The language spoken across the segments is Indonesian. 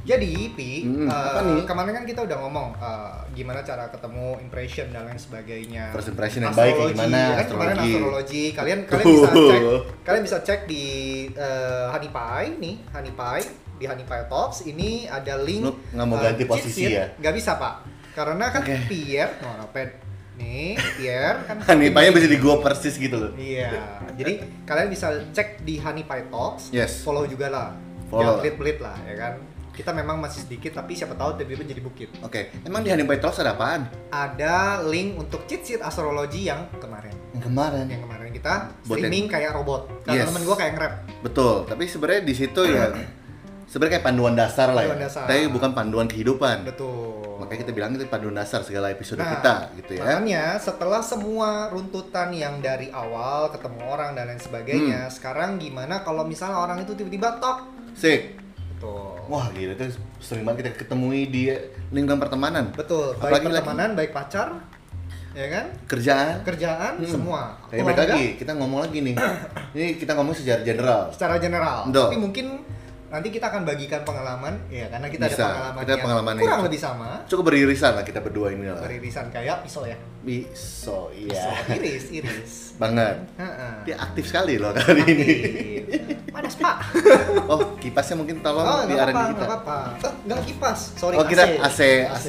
Jadi, Pi, eh, Hmm, apa nih? kemarin kan kita udah ngomong eh, gimana cara ketemu impression dan lain sebagainya. First impression yang baik kayak Astrologi, gimana, ya kan kemarin astrologi. astrologi. Kalian kalian bisa Tuh. cek kalian bisa cek di eh, Hanipai nih, Hanipai di Hanipai Talks ini ada link. Lu nggak mau eh, ganti cheat posisi sheet. ya? Nggak bisa, Pak. Karena kan Oke. Pierre, oh, no, pen. Nih, Pierre kan Hanipanya bisa di gua persis gitu loh. Iya, jadi kalian bisa cek di Honey Pie Talks, Yes. follow juga lah, jangan Follow. pelit-pelit lah, ya kan. Kita memang masih sedikit, tapi siapa tahu tiba-tiba jadi bukit. Oke, emang di Hanipay Talks ada apaan? Ada link untuk cheat sheet astrologi yang kemarin, Yang kemarin. yang kemarin kita Buat streaming kayak robot. Karena Yes. Nah. temen gue kayak nge-rap. Betul, tapi sebenarnya di situ ya sebenarnya kayak panduan dasar lah ya. Panduan dasar. Tapi bukan panduan kehidupan. Betul. Nah, Makanya kita bilang itu panduan dasar segala episode kita gitu ya. Makanya setelah semua runtutan yang dari awal ketemu orang dan lain sebagainya, Hmm. sekarang gimana kalau misalnya orang itu tiba-tiba tok? Sik. Betul. Wah, gila itu sering banget kita ketemui di lingkungan pertemanan, Betul, Apalagi baik pertemanan, baik pacar, ya kan? kerjaan. Kerjaan Hmm. semua. Kayak balik Keluarga, lagi, kita ngomong lagi nih. Ini kita ngomong secara general. secara general. Betul. Tapi mungkin nanti kita akan bagikan pengalaman, ya karena kita Bisa, ada pengalaman kita yang pengalamannya kurang itu. lebih sama. Cukup beririsan lah kita berdua ini lah. Beririsan kayak pisau ya. Bisa, Pisau, iya. iris, iris. Banget. Heeh. Dia aktif sekali loh kali ini. Aktif. Panas, Pak. Oh, kipasnya mungkin tolong Oh, di enggak diarahin apa-apa, kita. enggak apa-apa. Eh, Enggak kipas. Sorry, oh, kita AC AC,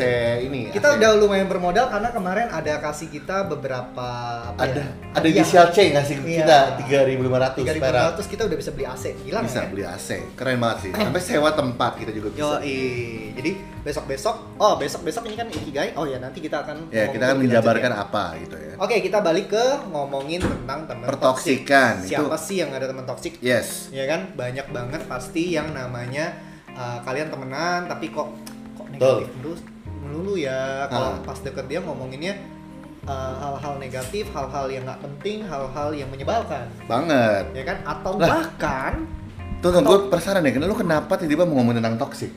ini. Kita AC. udah lumayan bermodal karena kemarin ada kasih kita beberapa apa ada ya? ada Hadiah. inisial C ngasih ke kita Iya. 3.500 perak. 3.500 kita udah bisa beli AC, ya. gila Bisa nggak? beli AC. Keren banget sih. Sampai sewa tempat kita juga bisa. Eh. Yoi. Jadi besok-besok, oh besok-besok ini kan Ikigai. Oh ya, nanti kita akan Ya, ngomongin kita akan lebih menjabarkan lanjut apa gitu ya. ya. Oke, kita balik ke ngomongin tentang teman toksik. Pertoksikan Siapa itu. sih yang ada teman toksik? Yes. Ya kan banyak banget pasti yang namanya uh, kalian temenan tapi kok kok negatif Betul. terus melulu ya. Kalau Ah. pas deket dia ngomonginnya uh, hal-hal negatif, hal-hal yang nggak penting, hal-hal yang menyebalkan, Banget. ya kan? Atau Lah. bahkan Tuh, gue penasaran deh, lu kenapa tiba-tiba mau ngomongin tentang toksik?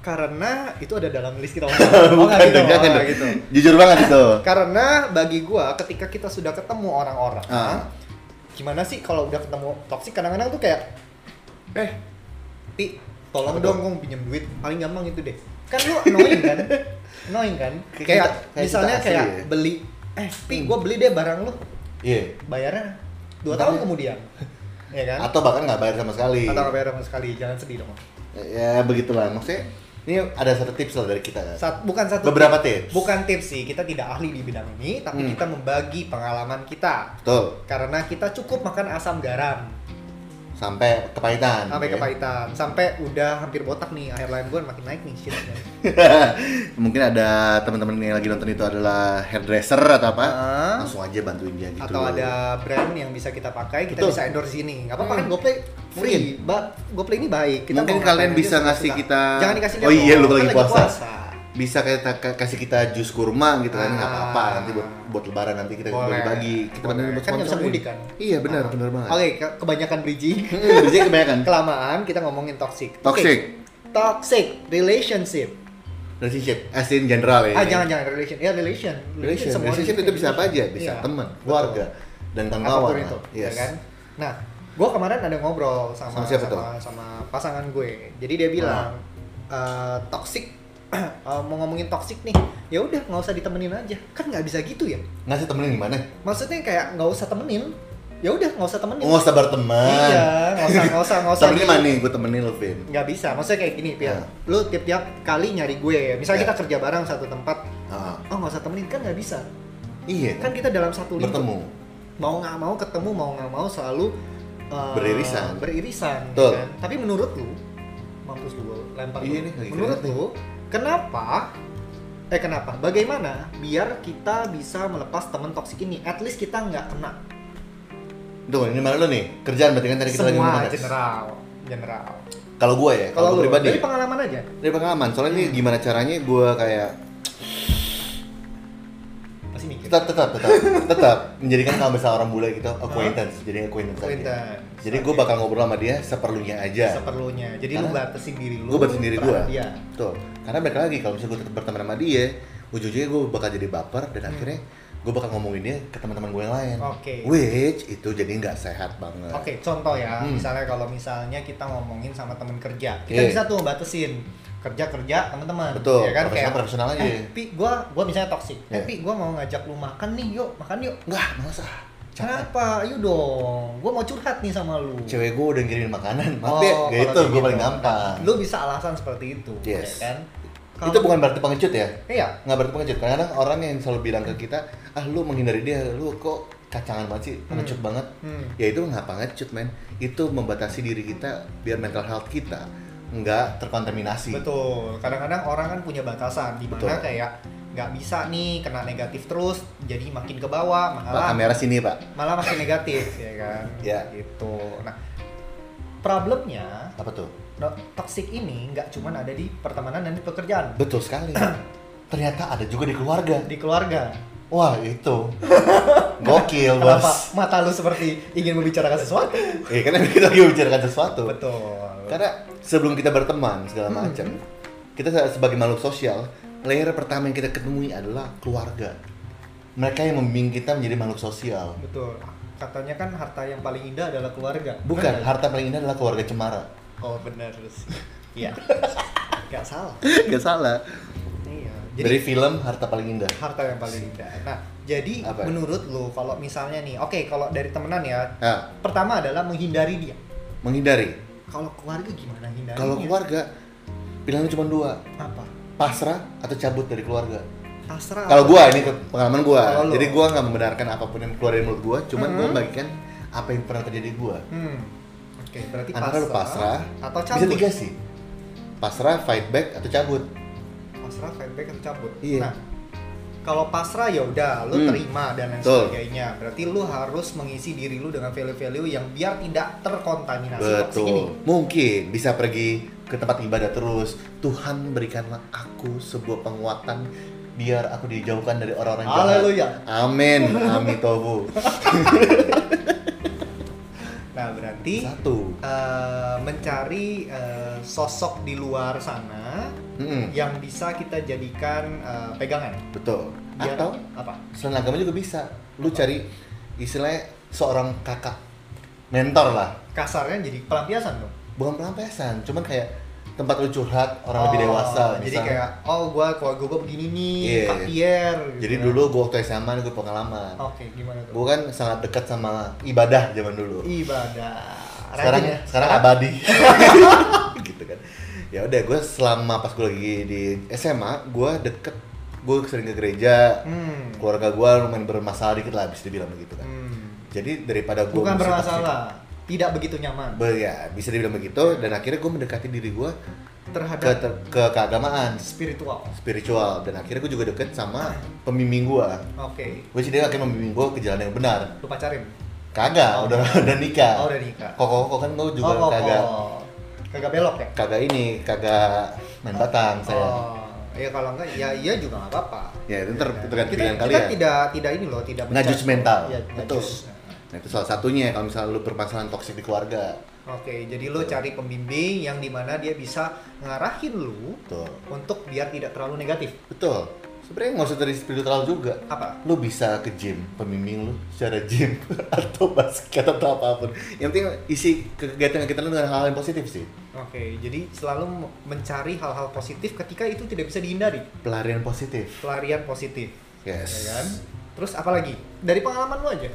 karena itu ada dalam list kita. Oh, nggak gitu, dong, oh, jangan nggak dong. gitu. Jujur banget itu. Karena bagi gua ketika kita sudah ketemu orang-orang, Ah. gimana sih kalau udah ketemu toksik kadang-kadang tuh kayak eh Pi, tolong Apa dong gong pinjam duit. Paling gampang itu deh. Kan lu annoying kan? annoying kan? Kayak Kayak kita- kayak misalnya kita asli kayak ya. Hmm. beli eh Pi, gua beli deh barang lu. Iya. Bayarnya 2 Bayar. tahun kemudian. ya kan? Atau bahkan nggak bayar sama sekali. Atau nggak bayar sama sekali, jangan sedih dong. Ya begitulah maksudnya. Ini ada satu tips lah dari kita. kan? Sat- bukan satu Beberapa tips. Bukan tips sih, kita tidak ahli di bidang ini, tapi Hmm. kita membagi pengalaman kita. Betul. karena kita cukup makan asam garam Sampai kepahitan. sampai ya. kepahitan sampai udah hampir botak nih airline gue makin naik nih shit man. Mungkin ada teman-teman yang lagi nonton itu adalah hairdresser atau apa? Ah. Langsung aja bantuin dia gitu. atau ada brand yang bisa kita pakai kita Betul. bisa endorse ini nggak apa-apa Hmm. kan GoPay free ba GoPay ini baik kita Mungkin mau kalian ngapain aja bisa suka-suka. ngasih kita- jangan dikasih Oh lihat iya, dong, lu kan lagi puasa. puasa. bisa kita ka- kasih kita jus kurma gitu kan nggak Ah. apa-apa nanti buat buat lebaran nanti kita Boleh. bagi-bagi kita Boleh. bantuin buat Kan nggak bisa sponsorin. mudik kan? iya benar Ah. benar banget oke ke- kebanyakan bridging Hmm, kerjanya kebanyakan kelamaan kita ngomongin toxic Oke. Toxic. toxic relationship relationship as in general ya ah ini. jangan jangan relation ya relation relationship semua relationship itu bisa apa aja bisa Iya. teman Betul. keluarga dan apapun kawan itu, ya yes. kan? Nah, gue kemarin ada ngobrol sama Sama siapa tuh? sama, sama pasangan gue. Jadi dia bilang "Eh, Ah. toxic eh, mau ngomongin toxic nih. Ya udah nggak usah ditemenin aja. Kan nggak bisa gitu ya. ngasih temenin gimana Maksudnya kayak nggak usah temenin. Ya udah nggak usah temenin. oh nggak usah berteman Iya, nggak usah nggak usah nggak usah. temenin di- mana nih gue temenin lo Vin Nggak bisa. Maksudnya kayak gini, Pil. Ah. Lu tiap-tiap kali nyari gue. Misalnya Ya. kita kerja bareng satu tempat. Ah, Oh nggak usah temenin kan nggak bisa. iya Kan kita dalam satu lingkup bertemu mau nggak mau ketemu mau nggak mau selalu uh, Beririsan. beririsan Betul. kan? tapi menurut lu mampus lu gua lempar Iya lu. nih, lagi menurut keringet nih. lu kenapa eh kenapa bagaimana biar kita bisa melepas teman toksik ini at least kita nggak kena tuh ini mana lo nih kerjaan berarti kan tadi kita lagi semua ngomongin. general general kalau gue ya kalau kalau gua lu pribadi dari Hmm. pengalaman aja dari pengalaman soalnya ini gimana caranya gue kayak pasti mikir tetap tetap tetap tetap menjadikan kalau misalnya orang bule gitu acquaintance jadi acquaintance, aja. Acquaintance. jadi gue bakal ngobrol sama dia seperlunya aja seperlunya jadi lu Karena batasin diri lu gue batasin diri gue terhadap dia tuh karena balik lagi kalau misalnya gue tetap berteman sama dia ujung-ujungnya gue bakal jadi baper dan akhirnya gue bakal ngomongin dia ke teman-teman gue yang lain Hmm. Oke. which itu jadi nggak sehat banget Oke, contoh ya, Eh. Hmm. misalnya kalau misalnya kita ngomongin sama temen kerja, kita Iya. bisa tuh batasin. kerja kerja teman-teman Betul, ya kan kayak profesional profesional aja. eh, pi gue gue misalnya toxic eh Iya. pi gue mau ngajak lu makan nih yuk makan yuk Enggak, males ah. Capek. Kenapa? Ayo dong, gue mau curhat nih sama lu. Cewek gue udah ngirimin makanan, Oh, maaf ya. kalau Ya itu, kayak gue paling gitu. gampang. Lu bisa alasan seperti itu, Yes. ya kan? Itu bukan berarti pengecut ya? Iya, Nggak berarti pengecut. Kadang-kadang orang yang selalu bilang ke kita, ah lu menghindari dia, lu kok kacangan banget sih, pengecut banget. Hmm. Ya itu nggak pengecut men, itu membatasi diri kita biar mental health kita nggak terkontaminasi. betul. Kadang-kadang orang kan punya batasan di mana Betul. kayak nggak bisa nih kena negatif terus, jadi makin ke bawah, Pak malah kamera sini pak, malah makin negatif, ya kan? Ya. Gitu. Nah, problemnya apa tuh? no- toxic ini nggak cuma ada di pertemanan dan di pekerjaan, Betul sekali. Ternyata ada juga di keluarga. di keluarga. Wah itu, gokil Kenapa bos. mata lu seperti ingin membicarakan sesuatu? Ya karena kita lagi bicarakan sesuatu. Betul. Karena sebelum kita berteman Hmm. segala macam, kita se- sebagai makhluk sosial, layer pertama yang kita ketemui adalah keluarga. Mereka yang membimbing kita menjadi makhluk sosial. Betul. Katanya kan harta yang paling indah adalah keluarga. Bukan, harta paling indah adalah keluarga cemara. Oh benar sih. Iya. Gak salah. Gak salah. Iya. Dari Jadi film Harta Paling Indah. harta yang paling indah. Nah, jadi Apa? menurut lo kalau misalnya nih, oke kalau dari temenan ya, Nah, pertama adalah menghindari dia. menghindari. Kalau keluarga gimana hindari? Kalau keluarga, pilihannya cuma dua. apa? Pasrah atau cabut dari keluarga. Pasrah. Kalau gua ya. ini ke- pengalaman gua. Ah. Kalau Hmm. lu. Jadi gua nggak membenarkan apapun yang keluar dari mulut gua, cuman gua membagikan apa yang pernah terjadi di gua. Hmm. Oke, berarti Antara lu pasrah, pasrah, atau Bisa cabut. Nah, tiga sih. Pasrah, fight back atau cabut. Pasrah, fight back, atau cabut. Iya. Nah, kalau pasrah ya udah lu Hmm. terima dan lain Betul. sebagainya. Berarti lu harus mengisi diri lu dengan value-value yang biar tidak terkontaminasi toksik ini. Betul. Mungkin bisa pergi ke tempat ibadah terus. Tuhan berikanlah aku sebuah penguatan biar aku dijauhkan dari orang-orang jahat. Haleluya. Amin. Amitobu. Nah, berarti Satu. eh, mencari eh, sosok di luar sana Mm-mm. yang bisa kita jadikan eh, pegangan. Betul. Biar- Atau apa? selain agama juga bisa. Lu cari istilahnya seorang kakak mentor lah. Kasarnya jadi pelampiasan dong. Bukan pelampiasan, cuman kayak tempat lu curhat orang Oh, lebih dewasa. Jadi misalnya. kayak oh gua keluarga gua begini nih, Iya. Kak Pierre. gitu Jadi kan. dulu gua waktu SMA nih gua pengalaman. Oke, gimana tuh? Gua kan sangat dekat sama ibadah zaman dulu. Ibadah. Iya, Rajin sekarang ya. sekarang abadi gitu kan ya udah gue selama pas gue lagi di SMA gue deket gue sering ke gereja Hmm. keluarga gue lumayan bermasalah dikit lah bisa dibilang begitu kan Hmm. jadi daripada gue Bukan bermasalah, tidak begitu nyaman ya bisa dibilang begitu dan akhirnya gue mendekati diri gue ke, terhadap ter- ke keagamaan spiritual. spiritual dan akhirnya gue juga deket sama pembimbing gue Oke, gue dia akhirnya membimbing gue ke jalan yang benar lu pacarin? kagak udah udah nikah Oh, udah nikah. Ya. kok kan gue juga oh, oh, kagak oh. Kagak belok ya? kagak ini kagak main batang saya Oh, ya kalau enggak, ya iya juga nggak apa-apa. Ya, itu ter- kan? tergantung kita, pilihan kita kalian. tidak tidak ini loh, tidak Nggak judge mental. Iya, nggak Betul. judge. Nah itu salah satunya kalau misalnya lu permasalahan toksik di keluarga. Oke, jadi lo cari pembimbing yang dimana dia bisa ngarahin lu Betul. untuk biar tidak terlalu negatif. Betul. Sebenarnya nggak usah dari spiritual juga. Apa? Lu bisa ke gym, pembimbing lu secara gym atau basket atau apapun. Yang penting isi kegiatan kita lu dengan hal yang positif sih. Oke, jadi selalu mencari hal-hal positif ketika itu tidak bisa dihindari. Pelarian positif. Pelarian positif. Yes. ya kan? Terus apa lagi? Dari pengalaman lu aja.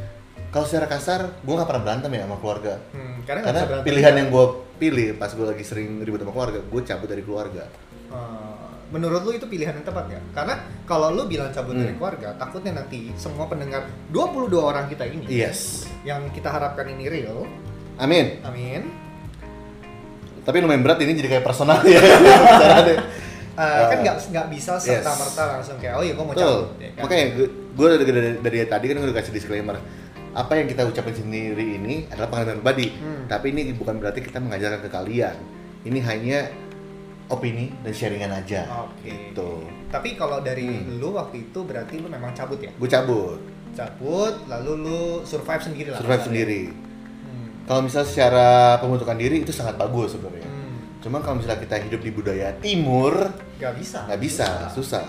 Kalau secara kasar, gua nggak pernah berantem ya sama keluarga. Hmm, karena nggak bisa Karena berantem. pilihan yang gua pilih pas gua lagi sering ribut sama keluarga, gua cabut dari keluarga. Eh, menurut lu itu pilihan yang tepat ya? Karena kalau lu bilang cabut dari Hmm. keluarga, takutnya nanti semua pendengar 22 orang kita ini Yes. yang kita harapkan ini real. Amin. Amin. Tapi lumayan berat ini jadi kayak personal ya. Bicara deh. Eh, kan nggak nggak bisa serta merta langsung kayak oh iya gua mau cabut. Betul. ya kan? Makanya gue dari, dari, dari tadi kan gue udah kasih disclaimer. Apa yang kita ucapin sendiri ini adalah pengalaman pribadi. Hmm. Tapi ini bukan berarti kita mengajarkan ke kalian. Ini hanya opini dan sharingan aja. Oke. Gitu. Tapi kalau dari Hmm. lu waktu itu berarti lu memang cabut ya? Gue cabut, Cabut, lalu lu survive sendiri lah. survive misalnya. sendiri. Hmm. Kalau misalnya secara pembentukan diri itu sangat bagus sebenarnya. Hmm. Cuman kalau misalnya kita hidup di budaya timur Nggak bisa. nggak bisa, Susah. susah.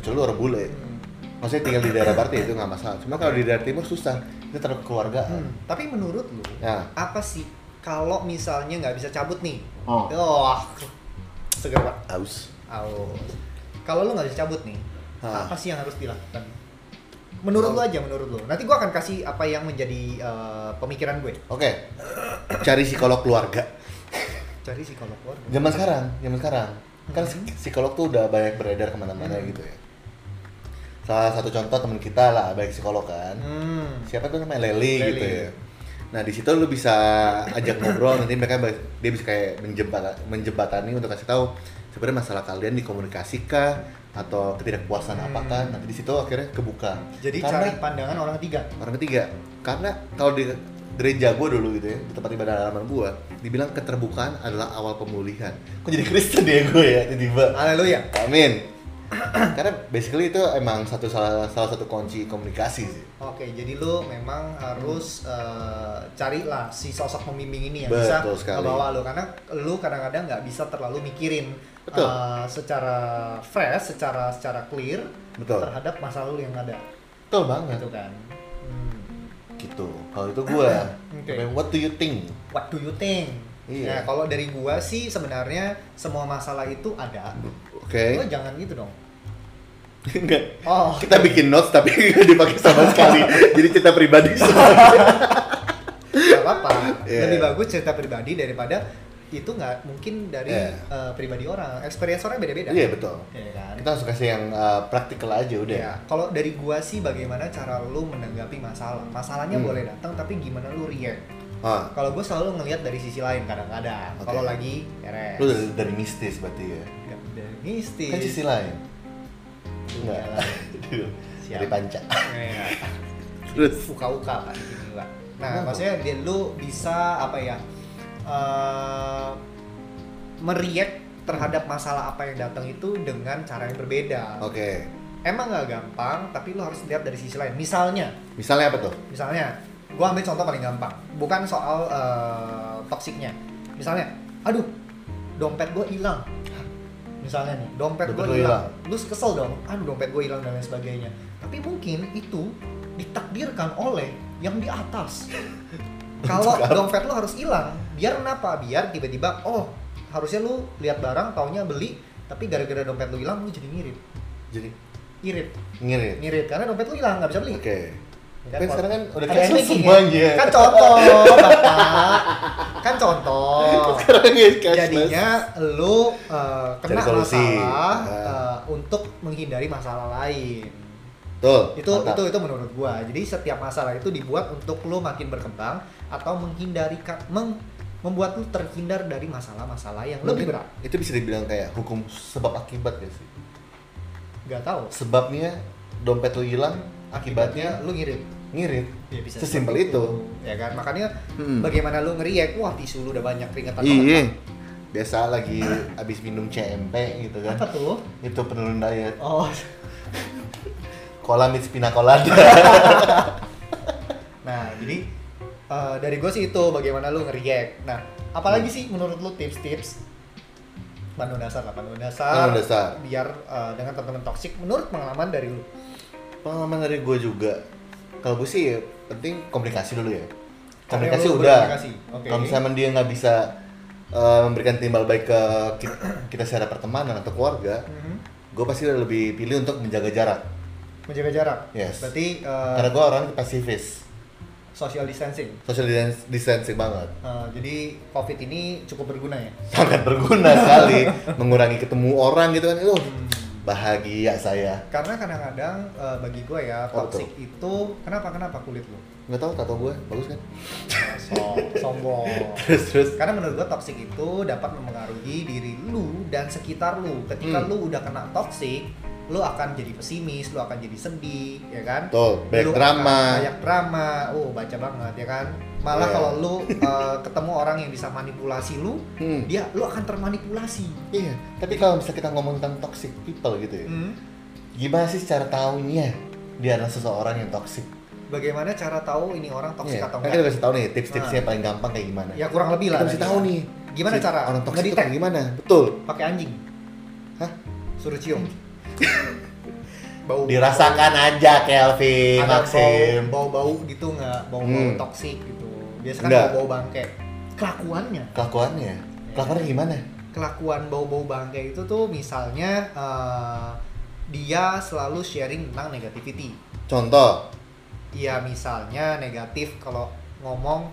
Kecuali lu orang bule. Hmm. Maksudnya tinggal di daerah barat ya itu nggak masalah. Cuma kalau di daerah timur susah, itu terlalu keluargaan. Hmm. Tapi menurut lu, Nah, apa sih kalau misalnya nggak bisa cabut nih? Oh. Wah, segar pak aus aus kalau lu nggak bisa cabut nih Hah. apa sih yang harus dilakukan menurut lu aja menurut lu nanti gua akan kasih apa yang menjadi eh, pemikiran gue oke cari psikolog keluarga cari psikolog keluarga zaman sekarang zaman sekarang kan Hmm. psikolog tuh udah banyak beredar kemana-mana Hmm. gitu ya salah satu contoh teman kita lah baik psikolog kan hmm. siapa tuh namanya Leli, Leli. gitu ya nah di situ lu bisa ajak ngobrol nanti mereka ba- dia bisa kayak menjebak menjebatani untuk kasih tahu sebenarnya masalah kalian dikomunikasikan atau ketidakpuasan Hmm. apakah nanti di situ akhirnya kebuka jadi Karena- cari pandangan orang ketiga orang ketiga karena kalau di gereja gue dulu gitu ya di tempat ibadah halaman gue dibilang keterbukaan adalah awal pemulihan kok jadi Kristen ya gue ya tiba-tiba haleluya amin karena basically itu emang satu salah salah satu kunci komunikasi sih Oke, jadi lu memang harus eh, carilah si sosok pembimbing ini yang bisa Betul sekali. ngebawa lu karena lu kadang-kadang nggak bisa terlalu mikirin Betul. eh, secara fresh, secara secara clear Betul. terhadap masalah lu yang ada, betul banget gitu kan. Hmm. gitu kalau itu gue Oke. Tapi what do you think What do you think? Ya, Iya. kalau dari gua sih sebenarnya semua masalah itu ada. oke Lu jangan gitu dong. Enggak. Oh. kita bikin notes tapi nggak dipakai sama sekali jadi cerita pribadi semua. Gak apa-apa. Iya. Lebih bagus cerita pribadi daripada itu nggak mungkin dari Iya. eh, pribadi orang. Experience orang beda-beda. iya betul Iya kan? kita langsung kasih yang uh, praktikal aja udah Iya. Kalau dari gua sih bagaimana cara lu menanggapi masalah. Masalahnya Hmm. boleh datang tapi gimana lu react. Ah, Kalau gua selalu ngelihat dari sisi lain kadang-kadang. Oke. Kalau lagi beres. lu dari, dari mistis berarti ya Nggak ada mistis. kan sisi lain enggak Iya. Siap. dari panca Iya. terus Uka-uka Pak, gini, Pak. kan, Nah, Kenapa? maksudnya dia lu bisa apa ya? eh meriak terhadap masalah apa yang datang itu dengan cara yang berbeda. oke Emang nggak gampang, tapi lu harus lihat dari sisi lain. Misalnya, misalnya apa tuh misalnya gue ambil contoh paling gampang bukan soal eh, toksiknya misalnya aduh dompet gue hilang misalnya nih dompet Dompet gue lo hilang lu kesel dong aduh dompet gue hilang dan lain sebagainya tapi mungkin itu ditakdirkan oleh yang di atas kalau dompet lu harus hilang biar kenapa biar tiba-tiba oh harusnya lu lihat barang taunya beli tapi gara-gara dompet lu hilang lu jadi ngirit jadi ya? irit ngirit oke ngirit karena dompet lu hilang nggak bisa beli Tapi kalau- sekarang kan udah ya. ada cashless yang semuanya. Kan contoh, Bapak. Kan contoh. sekarang ya cashless Jadinya lu uh, kena Cari solusi. masalah Ah. uh, untuk menghindari masalah lain. tuh Itu mantap. itu itu menurut gua. Jadi setiap masalah itu dibuat untuk lu makin berkembang atau menghindari ka- meng- membuat lu terhindar dari masalah-masalah yang Mungkin lebih berat. itu bisa dibilang kayak hukum sebab akibat ya sih Gak tahu. sebabnya dompet lu hilang akibatnya lu ngirit. ngirit Ya, bisa sesimpel seperti itu Ya kan? Makanya Mm. bagaimana lu ngeriak, wah tisu lu udah banyak keringetan. iya biasa lagi abis minum CMP gitu Apa kan tuh? itu penurun diet Oh, kolam it's pina colada Nah, jadi eh, dari gue sih itu bagaimana lu nge-react. Nah, apalagi sih menurut lu tips-tips panduan dasar lah, panduan dasar. Panduan dasar. Biar eh, dengan teman-teman toksik menurut pengalaman dari lu. pengalaman dari gue juga kalau gue sih ya, penting komunikasi dulu ya komunikasi lu udah berkomunikasi, oke. kalau misalnya dia nggak bisa eh, memberikan timbal baik ke ki- kita secara pertemanan atau keluarga Mhm. gue pasti lebih pilih untuk menjaga jarak Menjaga jarak. Yes. Berarti eh, karena gue orang pasifis social distancing. social dis- distancing banget Eh, jadi COVID ini cukup berguna ya. sangat berguna sekali mengurangi ketemu orang gitu kan itu bahagia saya Karena kadang-kadang eh, bagi gue ya Oh, toksik itu kenapa kenapa kulit lu nggak tahu tato gue bagus kan So- sombong. terus terus Karena menurut gua toxic itu dapat mempengaruhi diri lu dan sekitar lu. Ketika Hmm. lu udah kena toxic, lu akan jadi pesimis, lu akan jadi sedih, ya kan? Betul, banyak Lu akan drama. Banyak drama. Oh, baca banget ya kan? Malah Iya. kalau lu eh, ketemu orang yang bisa manipulasi lu, Hmm. dia lu akan termanipulasi. iya tapi kalau misalnya kita ngomong tentang toxic people gitu ya Hmm. gimana sih cara taunya dia adalah seseorang yang toksik? Bagaimana cara tahu ini orang toxic Iya, atau kan kita enggak? Ah. kasih tahu nih tips-tipsnya paling gampang kayak gimana. Ya kurang lebih lah. kita mesti tahu nih. Gimana si cara orang toksik itu ngedetect? kayak gimana? Betul. Pakai anjing. Hah? Suruh cium. Bau Dirasakan aja Kelvin, ada Maxim. bau bau gitu nggak bau bau Hmm. toksik gitu biasa kan Nggak. bau bau bangke kelakuannya Kelakuannya, kelakuannya gimana? kelakuan bau-bau bangke itu tuh misalnya eh, dia selalu sharing tentang negativity. Contoh, Iya misalnya negatif kalau ngomong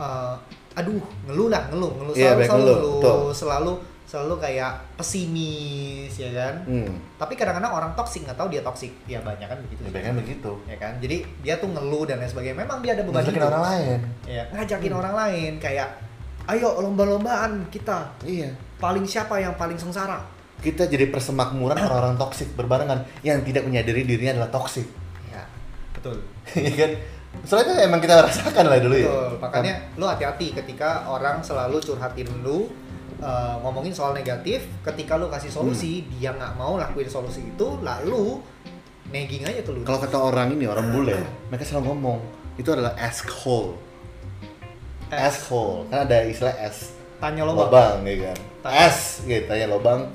eh, aduh ngeluh lah ngeluh ngeluh Iya, selalu banyak selalu ngeluh, ngeluh, betul. selalu selalu kayak pesimis ya kan. hmm, Tapi kadang-kadang orang toksik nggak tahu dia toksik. Ya banyak kan begitu. ya sih. pengen begitu. Ya kan. Jadi dia tuh ngeluh dan lain sebagainya. Memang dia ada beban Ngajakin hidup. orang lain. Iya, ngajakin orang lain kayak ayo lomba-lombaan kita Iya. paling siapa yang paling sengsara. Kita jadi persemakmuran orang-orang toksik berbarengan yang tidak menyadari dirinya adalah toksik. Ya, betul. Iya kan? Soalnya emang kita rasakan lah dulu ya. Betul, makanya lu hati-hati ketika orang selalu curhatin lu eh, ngomongin soal negatif, ketika lu kasih Hmm. solusi, dia nggak mau lakuin solusi itu, lalu nagging aja tuh lu. Nah, Kalau kata orang ini orang bule, mereka selalu ngomong itu adalah asshole. S, Asshole. Kan ada istilah S tanya lo Bang. lobang ya kan. S gitu tanya lobang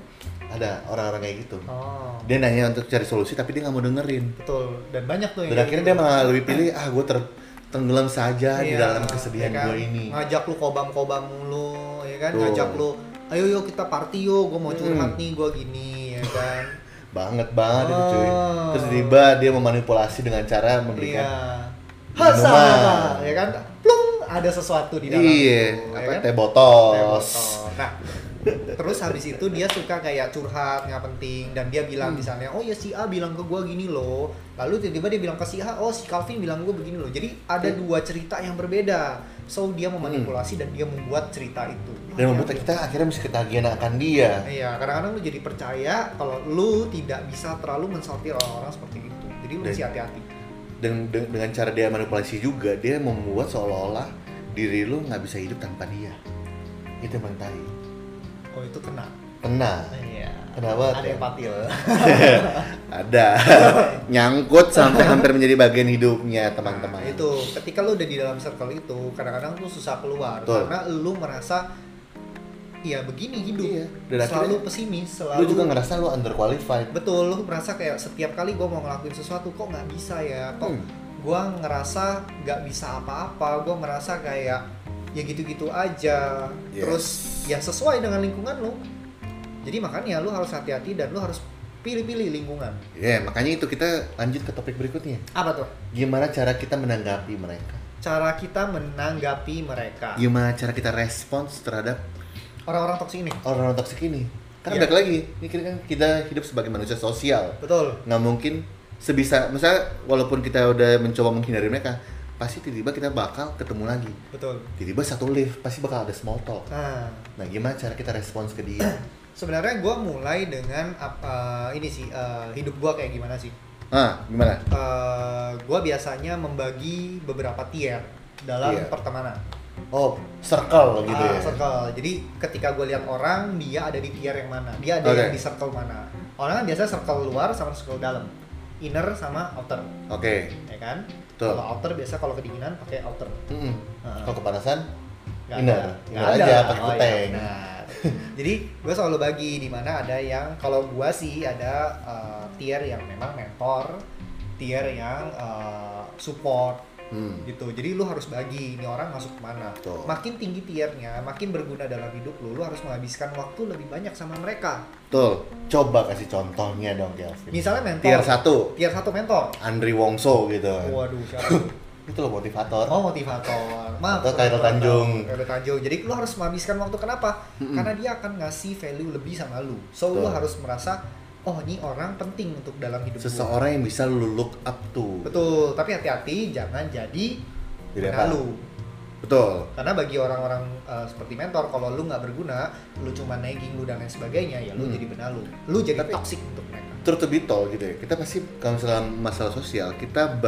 ada orang-orang kayak gitu. Oh, Dia nanya untuk cari solusi tapi dia nggak mau dengerin. betul. Dan banyak tuh gitu. Dan akhirnya dia malah lebih pilih ah gue ter tenggelam saja di Iya, dalam kesedihan ya kan? gue ini. Ngajak lu kobam-kobam lu, ya kan? Betul. Ngajak lu, ayo yo kita party yo, gue mau Mm. curhat nih, gue gini, ya kan? Banget banget itu cuy. Oh. Terus tiba dia memanipulasi dengan cara memberikan Iya. Minuman. Hasa, ya kan? Plung, ada sesuatu di dalam. iya, itu, ya apa kan? teh botos. Tembok. Nah, terus habis itu dia suka kayak curhat nggak penting dan dia bilang misalnya, oh ya si A bilang ke gue gini loh. Lalu tiba-tiba dia bilang ke si A, oh si Calvin bilang gue begini loh. Jadi ada dua cerita yang berbeda. So dia memanipulasi dan dia membuat cerita itu. Hmm. Dan membuat kita akhirnya mesti ketagihan akan dia. Iya, kadang-kadang lu jadi percaya kalau lu tidak bisa terlalu mensortir orang-orang seperti itu. Jadi lu Dan- mesti hati-hati. dan de- dengan cara dia manipulasi juga dia membuat seolah-olah diri lu nggak bisa hidup tanpa dia itu emang tai Oh itu kena. tenang Iya. Kenapa Ada tuh? empati loh. ada nyangkut sampai hampir menjadi bagian hidupnya teman-teman Nah, itu ketika lu udah di dalam circle itu kadang-kadang lu susah keluar Betul. karena lu merasa ya begini hidup Iya, dan selalu akhirnya pesimis selalu lu juga ngerasa lu underqualified betul lu merasa kayak setiap kali gua mau ngelakuin sesuatu kok nggak bisa ya kok Hmm. gua ngerasa nggak bisa apa-apa gua merasa kayak ya gitu-gitu aja Yes. terus ya sesuai dengan lingkungan lu jadi makanya lu harus hati-hati dan lu harus pilih-pilih lingkungan ya makanya itu kita lanjut ke topik berikutnya apa tuh gimana cara kita menanggapi mereka cara kita menanggapi mereka gimana cara kita respons terhadap orang-orang toksik ini orang-orang toksik ini karena Iya. balik lagi ini kan kita hidup sebagai manusia sosial betul nggak mungkin sebisa misalnya walaupun kita udah mencoba menghindari mereka pasti tiba-tiba kita bakal ketemu lagi Betul. tiba-tiba satu lift pasti bakal ada small talk Nah, nah gimana cara kita respons ke dia sebenarnya gue mulai dengan ap- eh, ini sih eh, hidup gue kayak gimana sih? ah gimana gue biasanya membagi beberapa tier dalam Tier. pertemanan. oh circle Iya. gitu Ah, ya circle. Jadi ketika gue lihat orang, dia ada di tier yang mana? Dia ada Oke. yang di circle mana? Orang kan biasanya circle luar sama circle dalam, inner sama outer, oke ya kan? Betul. Kalau outer biasa kalau kedinginan pakai outer. Mm-mm. Ah. kalau kepanasan Nggak Inner. ada. Inner Nggak aja, ada. pakai Oh, iya, kuteng. benar. Jadi gue selalu bagi di mana ada yang kalau gue sih ada eh, tier yang memang mentor, tier yang eh, support hmm. gitu. Jadi lu harus bagi ini orang masuk kemana. Betul. Makin tinggi tiernya, makin berguna dalam hidup lu. Lu harus menghabiskan waktu lebih banyak sama mereka. Tuh, coba kasih contohnya dong Kelvin Misalnya mentor. tier satu Tier satu mentor. Andri Wongso gitu Waduh, siapa? itu loh motivator Oh motivator. Maaf. Atau Khairul Tanjung. Khairul Tanjung. Jadi lu harus menghabiskan waktu kenapa? Mm-mm. Karena dia akan ngasih value lebih sama lu. So lu Betul. harus merasa oh ini orang penting untuk dalam hidup gua. seseorang yang bisa lu look up to Betul, tapi hati-hati jangan jadi Jadi apa? penalu. betul Karena bagi orang-orang eh, seperti mentor kalau lu nggak berguna, lu cuma nagging lu dan lain sebagainya, ya lu Hmm. jadi benalu. Lu jadi Tapi- toxic untuk mereka. truth to be told gitu ya kita pasti kalau misalnya masalah sosial kita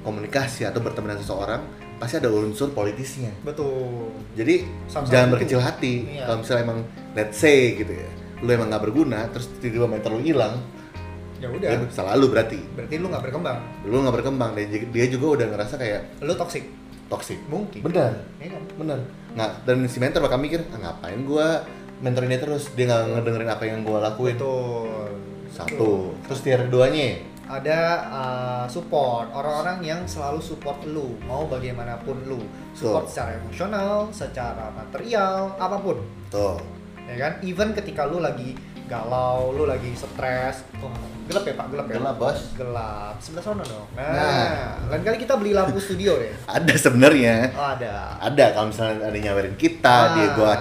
berkomunikasi atau berteman dengan seseorang pasti ada unsur politisnya Betul. jadi Sama-sama jangan gitu. berkecil hati Iya. kalau misalnya emang let's say gitu ya lu emang nggak berguna terus tiba-tiba mentor lu hilang Ya ya udah. salah lu berarti Berarti lu nggak berkembang. lu nggak berkembang dan j- dia juga udah ngerasa kayak Lu toxic. toxic Mungkin. Benar. Iya kan? bener nggak dan si mentor bakal mikir ah, ngapain gua mentorin dia terus dia nggak ngedengerin apa yang gua lakuin Betul. satu terus tier duanya ada uh, support orang-orang yang selalu support lu mau bagaimanapun lu support Betul. secara emosional secara material apapun tuh ya ya kan even ketika lu lagi galau lu lagi stres oh, gelap ya pak gelap ya Gelap, bos. gelap sebelah sana dong nah, Nah. lain kali kita beli lampu studio deh Ada sebenarnya. oh, ada Ada kalau misalnya ada nyawarin kita Ah. di gua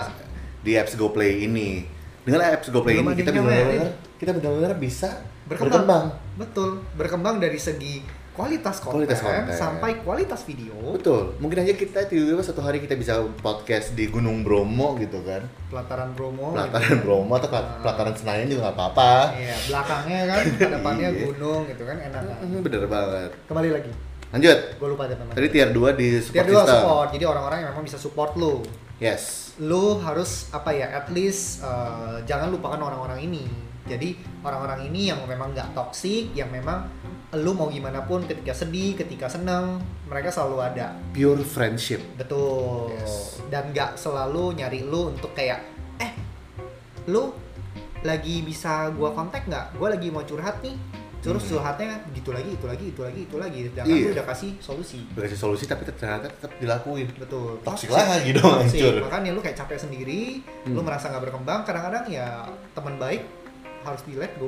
di apps GoPlay ini. Dengan apps GoPlay Belum ini ada kita yang nyawarin. benar-benar kita benar-benar bisa Berkembang. berkembang. betul berkembang dari segi kualitas konten, Kualitas konten. sampai kualitas video Betul. Mungkin aja kita tiba-tiba satu hari kita bisa podcast di Gunung Bromo gitu kan. pelataran Bromo pelataran gitu. Bromo atau Ah. pelataran Senayan juga nggak apa-apa. Iya, belakangnya kan, depannya Iya. gunung gitu kan, enak kan. Hmm, Bener banget. Kembali lagi, Lanjut. gue lupa deh memang. Tadi tier 2 di Tier support dua system. support, jadi orang-orang yang memang bisa support lu. Yes. Lu harus apa ya, at least uh, jangan lupakan orang-orang ini. Jadi orang-orang ini yang memang nggak toksik, yang memang lu mau gimana pun ketika sedih, ketika seneng, mereka selalu ada. Pure friendship. Betul. Yes. Dan nggak selalu nyari lu untuk kayak, eh, lu lagi bisa gua kontak nggak? Gua lagi mau curhat nih. Terus Hmm. curhatnya gitu lagi, itu lagi, itu lagi, itu lagi. Sedangkan Iya. lu udah kasih solusi. Berkasih solusi tapi ternyata tetap dilakuin. Betul. Toxic lagi dong, Toxic. hancur. Makanya lu kayak capek sendiri, lu Hmm. merasa nggak berkembang. Kadang-kadang ya teman baik harus di let go,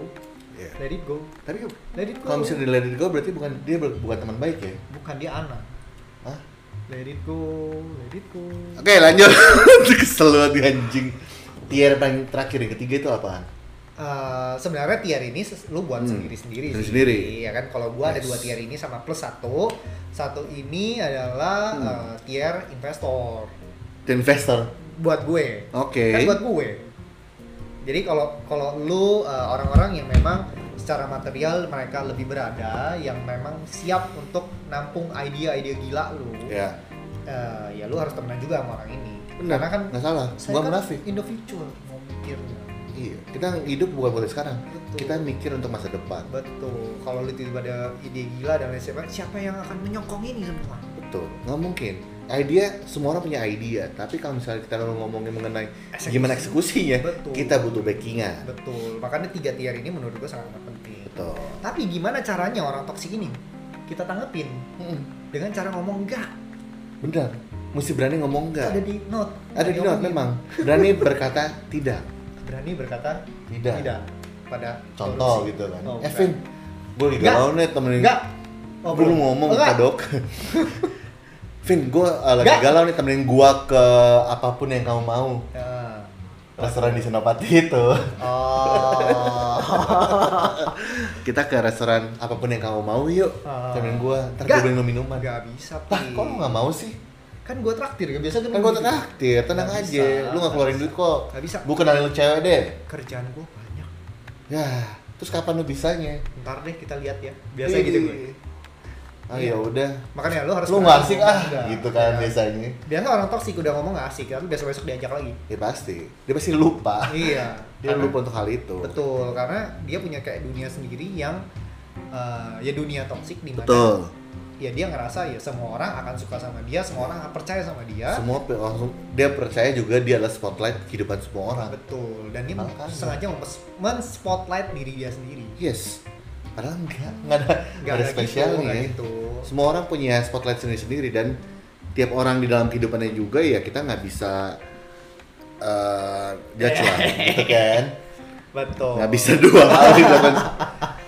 Iya. let it go, Tapi let it go. kalau misalnya di let it go berarti bukan dia ber- bukan teman baik ya? Bukan dia anak. Hah? Let it go, let it go. Oke lanjut. Kesel banget nih, anjing. Tier paling terakhir yang ketiga itu apaan? Eh, sebenarnya tier ini ses- lu buat Hmm. sendiri-sendiri sih. Sendiri-sendiri. Iya kan kalau gua ada Yes. dua tier ini sama plus satu. Satu ini adalah Hmm. eh, tier investor The investor. buat gue. Oke. Kan buat gue. Jadi kalau kalau lu eh, orang-orang yang memang secara material mereka lebih berada yang memang siap untuk nampung ide-ide gila lu. Ya. eh, ya lu harus temenan juga sama orang ini. Benar. Karena kan nggak salah. saya Gua kan munafik. in the future mau mikirnya. Iya. Kita hidup bukan buat sekarang. Betul. Kita mikir untuk masa depan. Betul. Kalau lu tiba-tiba ada ide gila dan lain sebagainya, siapa yang akan menyokong ini semua? Betul. Nggak mungkin. Idea semua orang punya idea, tapi kalau misalnya kita ngomongin mengenai Eksekusi. gimana eksekusinya, Betul. kita butuh backingan. Betul. Makanya tiga tier ini menurut gue sangat penting. Betul. Tapi gimana caranya orang toksik ini? Kita tanggepin dengan cara ngomong enggak. Benar. Mesti berani ngomong enggak. Ada di note. Ada di ngomongin. note memang. Berani berkata tidak. Berani berkata Tidak. tidak pada Contoh korupsi. gitu kan. Oh, bukan. Evin, gue lagi Enggak. galau nih temenin. Enggak. Oh, belum ngomong Enggak. ke dok. Vin, gue lagi Enggak. galau nih temenin gua ke apapun yang kamu mau. Nah. Restoran di Senopati itu. Oh. Kita ke restoran apapun yang kamu mau yuk. Ah. Temenin gua, ntar Enggak. gue beliin lu minuman. Enggak bisa, Pi. Lah, kok lu gak mau sih? Kan gua traktir, kan biasa Kan gua traktir, tenang Nggak aja. bisa, Lu gak keluarin nggak duit kok. Gak bisa. Gue kenalin lu cewek deh. Kerjaan gua banyak. Ya, terus kapan lu bisanya? Ntar deh kita lihat ya. Biasanya Iya, gitu gue. Ah Iya. ya udah. Makanya lo harus Lu berani nggak asik ngomong ah, enggak. gitu kan Ya. biasanya. Biasa orang toksik udah ngomong gak asik, tapi besok-besok diajak lagi. Ya pasti. Dia pasti lupa. iya. Ah. Dia Karena- lupa untuk hal itu. Betul, karena dia punya kayak dunia sendiri yang eh, ya dunia toksik di mana Betul. ya dia ngerasa ya semua orang akan suka sama dia, semua orang akan percaya sama dia. Semua pe- langsung dia percaya juga dia adalah spotlight kehidupan semua orang. Betul, dan dia Makanya. sengaja mempe- men-spotlight diri dia sendiri. Yes. Padahal enggak, enggak ada enggak ada gitu, spesialnya. ya. nggak gitu. Semua orang punya spotlight sendiri-sendiri dan tiap orang di dalam kehidupannya juga ya kita nggak bisa eh judge lah, gitu kan. Betul. nggak bisa dua hal dilakukan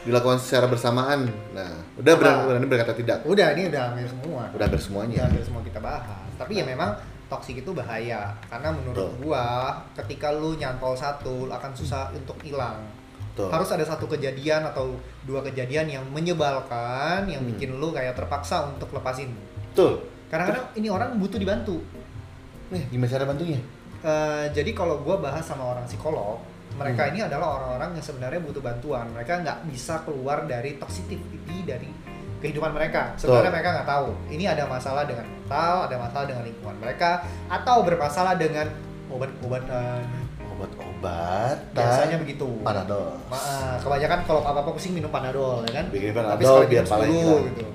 dilakukan secara bersamaan nah udah berani, Apa? berani berkata tidak Udah, ini udah hampir semua. udah hampir ya semuanya hampir semua kita bahas tapi ya memang toksik itu bahaya karena menurut Betul. gua ketika lu nyantol satu lu akan susah untuk hilang Betul. harus ada satu kejadian atau dua kejadian yang menyebalkan yang Hmm. bikin lu kayak terpaksa untuk lepasin betul karena kadang ini orang butuh dibantu nih gimana cara bantunya Eh, jadi kalau gua bahas sama orang psikolog mereka Hmm. ini adalah orang-orang yang sebenarnya butuh bantuan mereka nggak bisa keluar dari toxicity dari kehidupan mereka sebenarnya Betul. mereka nggak tahu ini ada masalah dengan mental ada masalah dengan lingkungan mereka atau bermasalah dengan obat-obatan obat-obatan biasanya begitu panadol Ma- eh, kebanyakan kalau apa-apa pusing minum panadol ya kan bikin Tapi panadol sekali biar minum paling 10 hilang gitu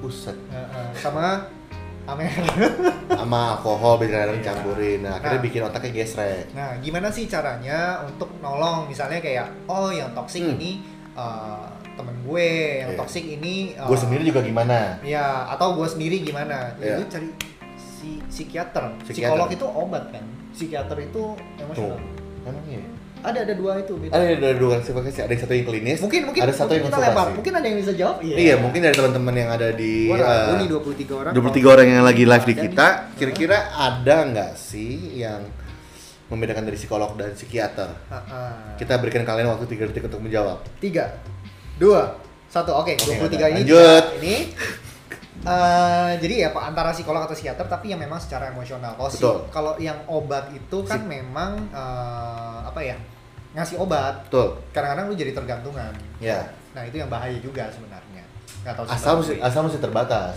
pusat Eh, eh, sama amer sama alkohol biar kadang Iya. campurin nah, akhirnya Nah. bikin otaknya gesrek Nah, gimana sih caranya untuk nolong? Misalnya kayak, oh yang toxic Hmm. ini uh, temen gue, yang Iya. toxic ini uh, gue sendiri juga gimana Ya, atau gue sendiri gimana? Ya, Iya. Lu cari si psikiater. Psikiater. Psikolog itu obat kan? Psikiater itu emosional. Tuh. Emang iya. Ada ada dua itu. beda. Ada ada dua klasifikasi, ada yang satu yang klinis, Mungkin mungkin ada mungkin satu yang kita lempar. konsultasi. Mungkin ada yang bisa jawab. Iya. Iya, mungkin dari teman-teman yang ada di Gua ragu eh, nih 23 orang. 23 orang yang lagi live di Ada kita, nih. kira-kira ada nggak sih yang membedakan dari psikolog dan psikiater? Ah, ah. Kita berikan kalian waktu 3 detik untuk menjawab. tiga dua satu oke Oke, 23 ada. ini Lanjut. tiga. ini eh, jadi ya pak antara psikolog atau psikiater tapi yang memang secara emosional kalau si- Betul. kalau yang obat itu kan memang eh, apa ya ngasih obat Betul. kadang-kadang lu jadi tergantungan Ya. nah itu yang bahaya juga sebenarnya nggak tahu Asal seberapa mesti- baik. asal mesti terbatas.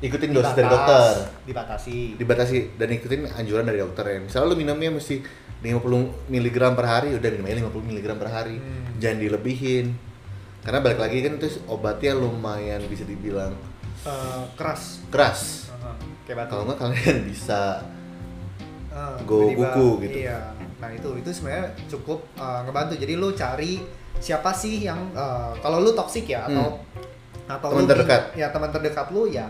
Ikutin dosis Dibatas, dari dokter. dibatasi dibatasi dan ikutin anjuran dari dokter ya. Misalnya lu minumnya mesti 50 mg per hari, udah minumnya 50 mg per hari. Hmm. Jangan dilebihin. Karena balik lagi kan itu obatnya lumayan bisa dibilang Eh, keras keras. Heeh, kayak batu Kalau nggak kalian bisa Eh, Go tiba-tiba, buku gitu. Iya. Nah itu itu sebenarnya cukup eh, ngebantu. Jadi lu cari siapa sih yang eh, kalau lu toksik ya atau atau Hmm. Teman lu- terdekat. Ya teman terdekat lu ya.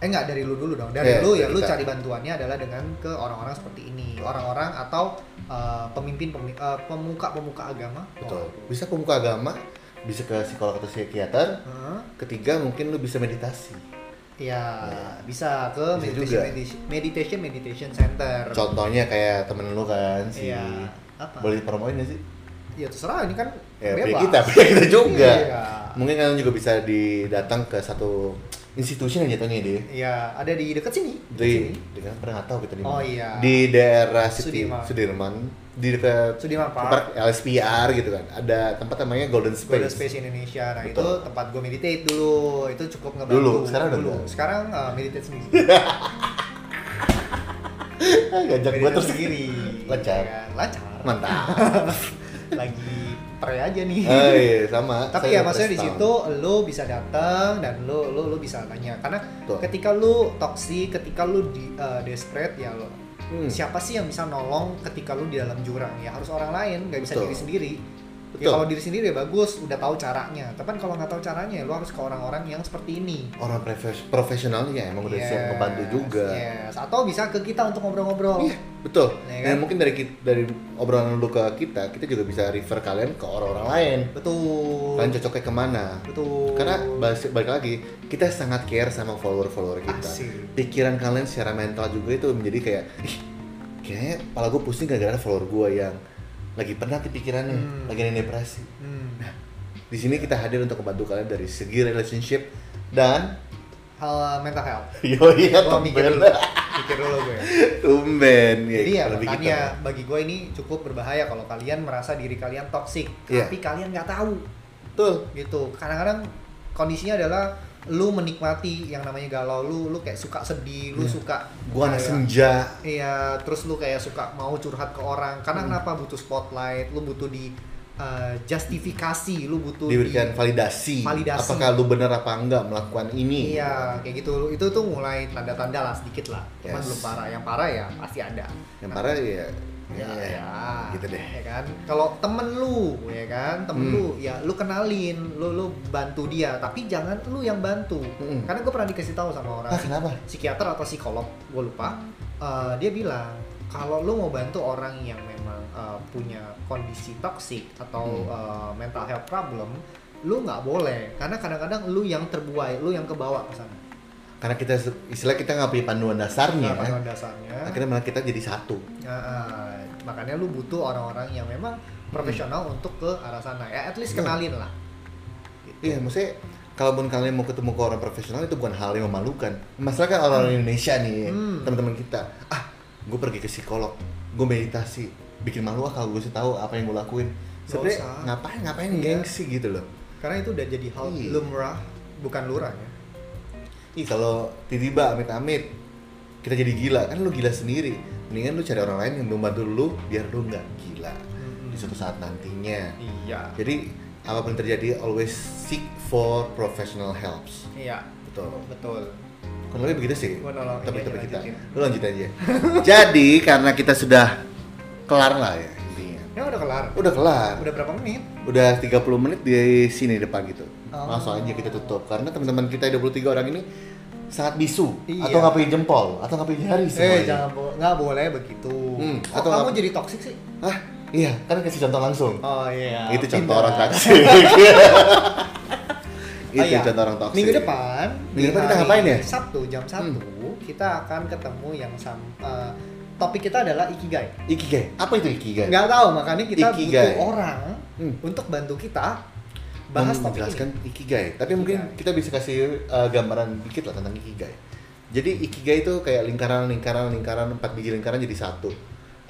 Eh enggak dari lu dulu dong. Dari Iya, lu ya dari lu kita. cari bantuannya adalah dengan ke orang-orang seperti ini, orang-orang atau eh, pemimpin pemi- eh, pemuka-pemuka agama. betul. Bisa pemuka agama, bisa ke psikolog atau psikiater. Heeh. Ketiga mungkin lu bisa meditasi. ya Iya. bisa ke Bisa meditation, juga. meditation meditation meditation center. Contohnya kayak temen lu kan si Iya. Apa? boleh promoin nggak sih? Ya terserah ini kan Ya, bebas. punya kita, punya kita juga. Iya. Mungkin kalian juga bisa didatang ke satu institusi yang jatuhnya deh. Iya, ada di dekat sini. di Dekat di kan pernah nggak tahu kita di mana. Oh, iya. di daerah City Sudirman. Sudirman, di dekat sini. Sudirman Park. Park LSPR gitu kan ada tempat namanya Golden Space, Golden Space Indonesia. Nah, itu Betul. tempat gue meditate dulu. Itu cukup ngebantu. Dulu, sekarang udah dulu. enggak. Sekarang eh, meditate sendiri. Ah, ngajak gue meditate terus sendiri. Lancar. Nah. Ya, lancar. mantap Lagi pre aja nih. oh, iya, sama Tapi ya Saya maksudnya di first situ lu bisa datang dan lu lu lu bisa tanya karena Betul. ketika lu toksik, ketika lu di eh, desperate ya lo town. Hmm, siapa sih yang bisa nolong ketika lu di dalam jurang ya harus orang lain nggak bisa Betul. diri sendiri ya Betul. kalau diri sendiri ya bagus udah tahu caranya tapi kan kalau nggak tahu caranya ya lu harus ke orang-orang yang seperti ini orang profes- profesionalnya ya, emang udah siap Yes, membantu juga yes. atau bisa ke kita untuk ngobrol-ngobrol Iya, betul Iya dan kan? mungkin dari ki- dari obrolan lu ke kita kita juga bisa refer kalian ke orang-orang lain betul kalian cocoknya kemana betul karena bas- balik lagi kita sangat care sama follower-follower kita Asik. pikiran kalian secara mental juga itu menjadi kayak ih kayaknya kepala gue pusing gara-gara follower gue yang lagi penat di pikirannya Hmm. lagi ada depresi Hmm. di sini kita hadir untuk membantu kalian dari segi relationship dan hal mental health yo iya Gua mikir tumben dulu pikir dulu gue tumben jadi ya kalau begitu. makanya bagi gue ini cukup berbahaya kalau kalian merasa diri kalian toksik Iya. tapi kalian nggak tahu betul gitu kadang-kadang kondisinya adalah lu menikmati yang namanya galau lu lu kayak suka sedih lu Iya. suka gue anak kayak- senja iya terus lu kayak suka mau curhat ke orang Hmm. karena kenapa butuh spotlight lu butuh di eh, justifikasi lu butuh diberikan di, validasi. Validasi. apakah lu benar apa enggak melakukan ini iya kayak gitu itu tuh mulai tanda-tanda lah sedikit lah cuman Yes. belum parah yang parah ya pasti ada yang parah ya ya, ya, gitu deh ya kan kalau temen lu ya kan temen Hmm. lu ya lu kenalin lu lu bantu dia tapi jangan lu yang bantu Mm-mm. karena gue pernah dikasih tahu sama orang ah kenapa psikiater atau psikolog gue lupa eh, dia bilang kalau lu mau bantu orang yang memang eh, punya kondisi toxic atau Hmm. eh, mental health problem lu nggak boleh karena kadang-kadang lu yang terbuai lu yang kebawa ke sana karena kita istilah kita nggak punya panduan dasarnya kan? Nah, pada dasarnya akhirnya malah kita jadi satu Ya, eh, makanya lu butuh orang-orang yang memang profesional untuk ke arah sana ya at least Hmm. kenalin lah iya maksudnya kalaupun kalian mau ketemu ke orang profesional itu bukan hal yang memalukan masalah kan orang Indonesia nih Hmm. teman-teman kita ah gue pergi ke psikolog gue meditasi bikin malu ah kalau gue sih tahu apa yang gue lakuin Nggak sebenarnya usah. ngapain ngapain Iya. gengsi gitu loh karena itu udah jadi hal Iya. lumrah bukan lurah ya ih kalau tiba-tiba amit-amit kita jadi gila kan lu gila sendiri mendingan lu cari orang lain yang membantu lu biar lu nggak gila Hmm. di suatu saat nantinya iya jadi apapun yang terjadi always seek for professional helps iya betul betul kurang lebih begitu sih Gua nolong. Iya, tapi tapi iya, kita lanjutin. lu lanjut aja jadi karena kita sudah kelar lah ya intinya ya udah kelar udah kelar udah berapa menit udah 30 menit di sini depan gitu Oh. langsung aja kita tutup karena teman-teman kita 23 orang ini sangat bisu Iya. atau ngapain jempol atau ngapain jari eh semuanya jangan bo- nggak boleh begitu Hmm, kok atau kamu apa? jadi toksik sih Hah? Iya, kan kasih contoh langsung. Oh iya. itu contoh Pindah. orang toksik. itu Oh, iya. contoh orang toksik. Minggu depan, Minggu di depan kita hari ngapain ya? Sabtu jam 1 kita akan ketemu yang sam eh, topik kita adalah ikigai. Ikigai. Apa itu ikigai? Nggak tahu makanya kita Ikigai. butuh orang Hmm. untuk bantu kita bahas Mem- topik menjelaskan ini. ikigai. Tapi mungkin Ikigai. kita bisa kasih uh, gambaran dikit lah tentang ikigai. Jadi ikigai itu kayak lingkaran-lingkaran lingkaran empat biji lingkaran jadi satu.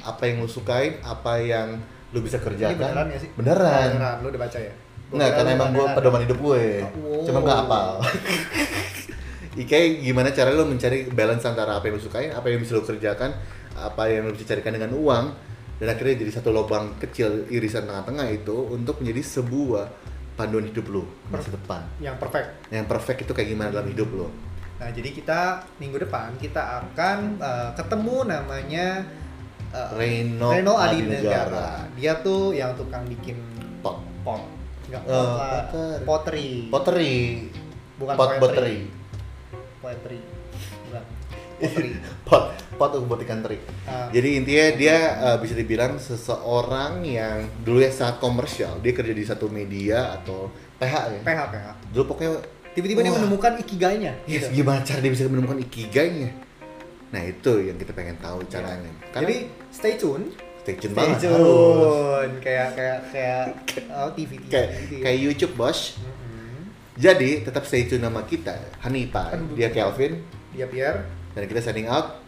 Apa yang lu sukain, apa yang lu bisa kerjakan. Ini beneran ya sih? Beneran. Beneran, lu udah baca ya? Gua Nggak, kira karena lu emang gue beneran. pedoman hidup gue. Wow. Cuma nggak apal. Ikigai gimana cara lu mencari balance antara apa yang lu sukain, apa yang bisa lu kerjakan, apa yang lu bisa carikan dengan uang dan akhirnya jadi satu lubang kecil irisan tengah-tengah itu untuk menjadi sebuah panduan hidup lu ke masa depan. yang perfect. Yang perfect itu kayak gimana dalam hidup lu. Nah, jadi kita minggu depan kita akan eh, ketemu namanya eh, Reno Reno Adinegara. Adinegara. Dia tuh yang tukang bikin Pot. pot. Enggak Eh, pot lah, potter. pottery. Pottery. Bukan pot poetry. pottery. Poetry. Bukan. Pottery. Eh, Pot pot buat ikan teri. Ah. Jadi intinya dia eh, bisa dibilang seseorang yang dulu ya sangat komersial. Dia kerja di satu media atau PH ya. PH PH. Dulu pokoknya Tiba-tiba dia Wah. Iya, menemukan ikigainya. yes, gitu. gimana cara dia bisa menemukan ikigainya. Nah, itu yang kita pengen tahu caranya. Iya. Karena Jadi stay tune. stay tune Stay banget. harus. tune. Kayak kayak kayak oh, TV TV. Kayak kayak YouTube, Bos. Mm-mm. Jadi, tetap stay tune sama kita. Hanipa, dia Kelvin Dia Pierre. dan kita signing out.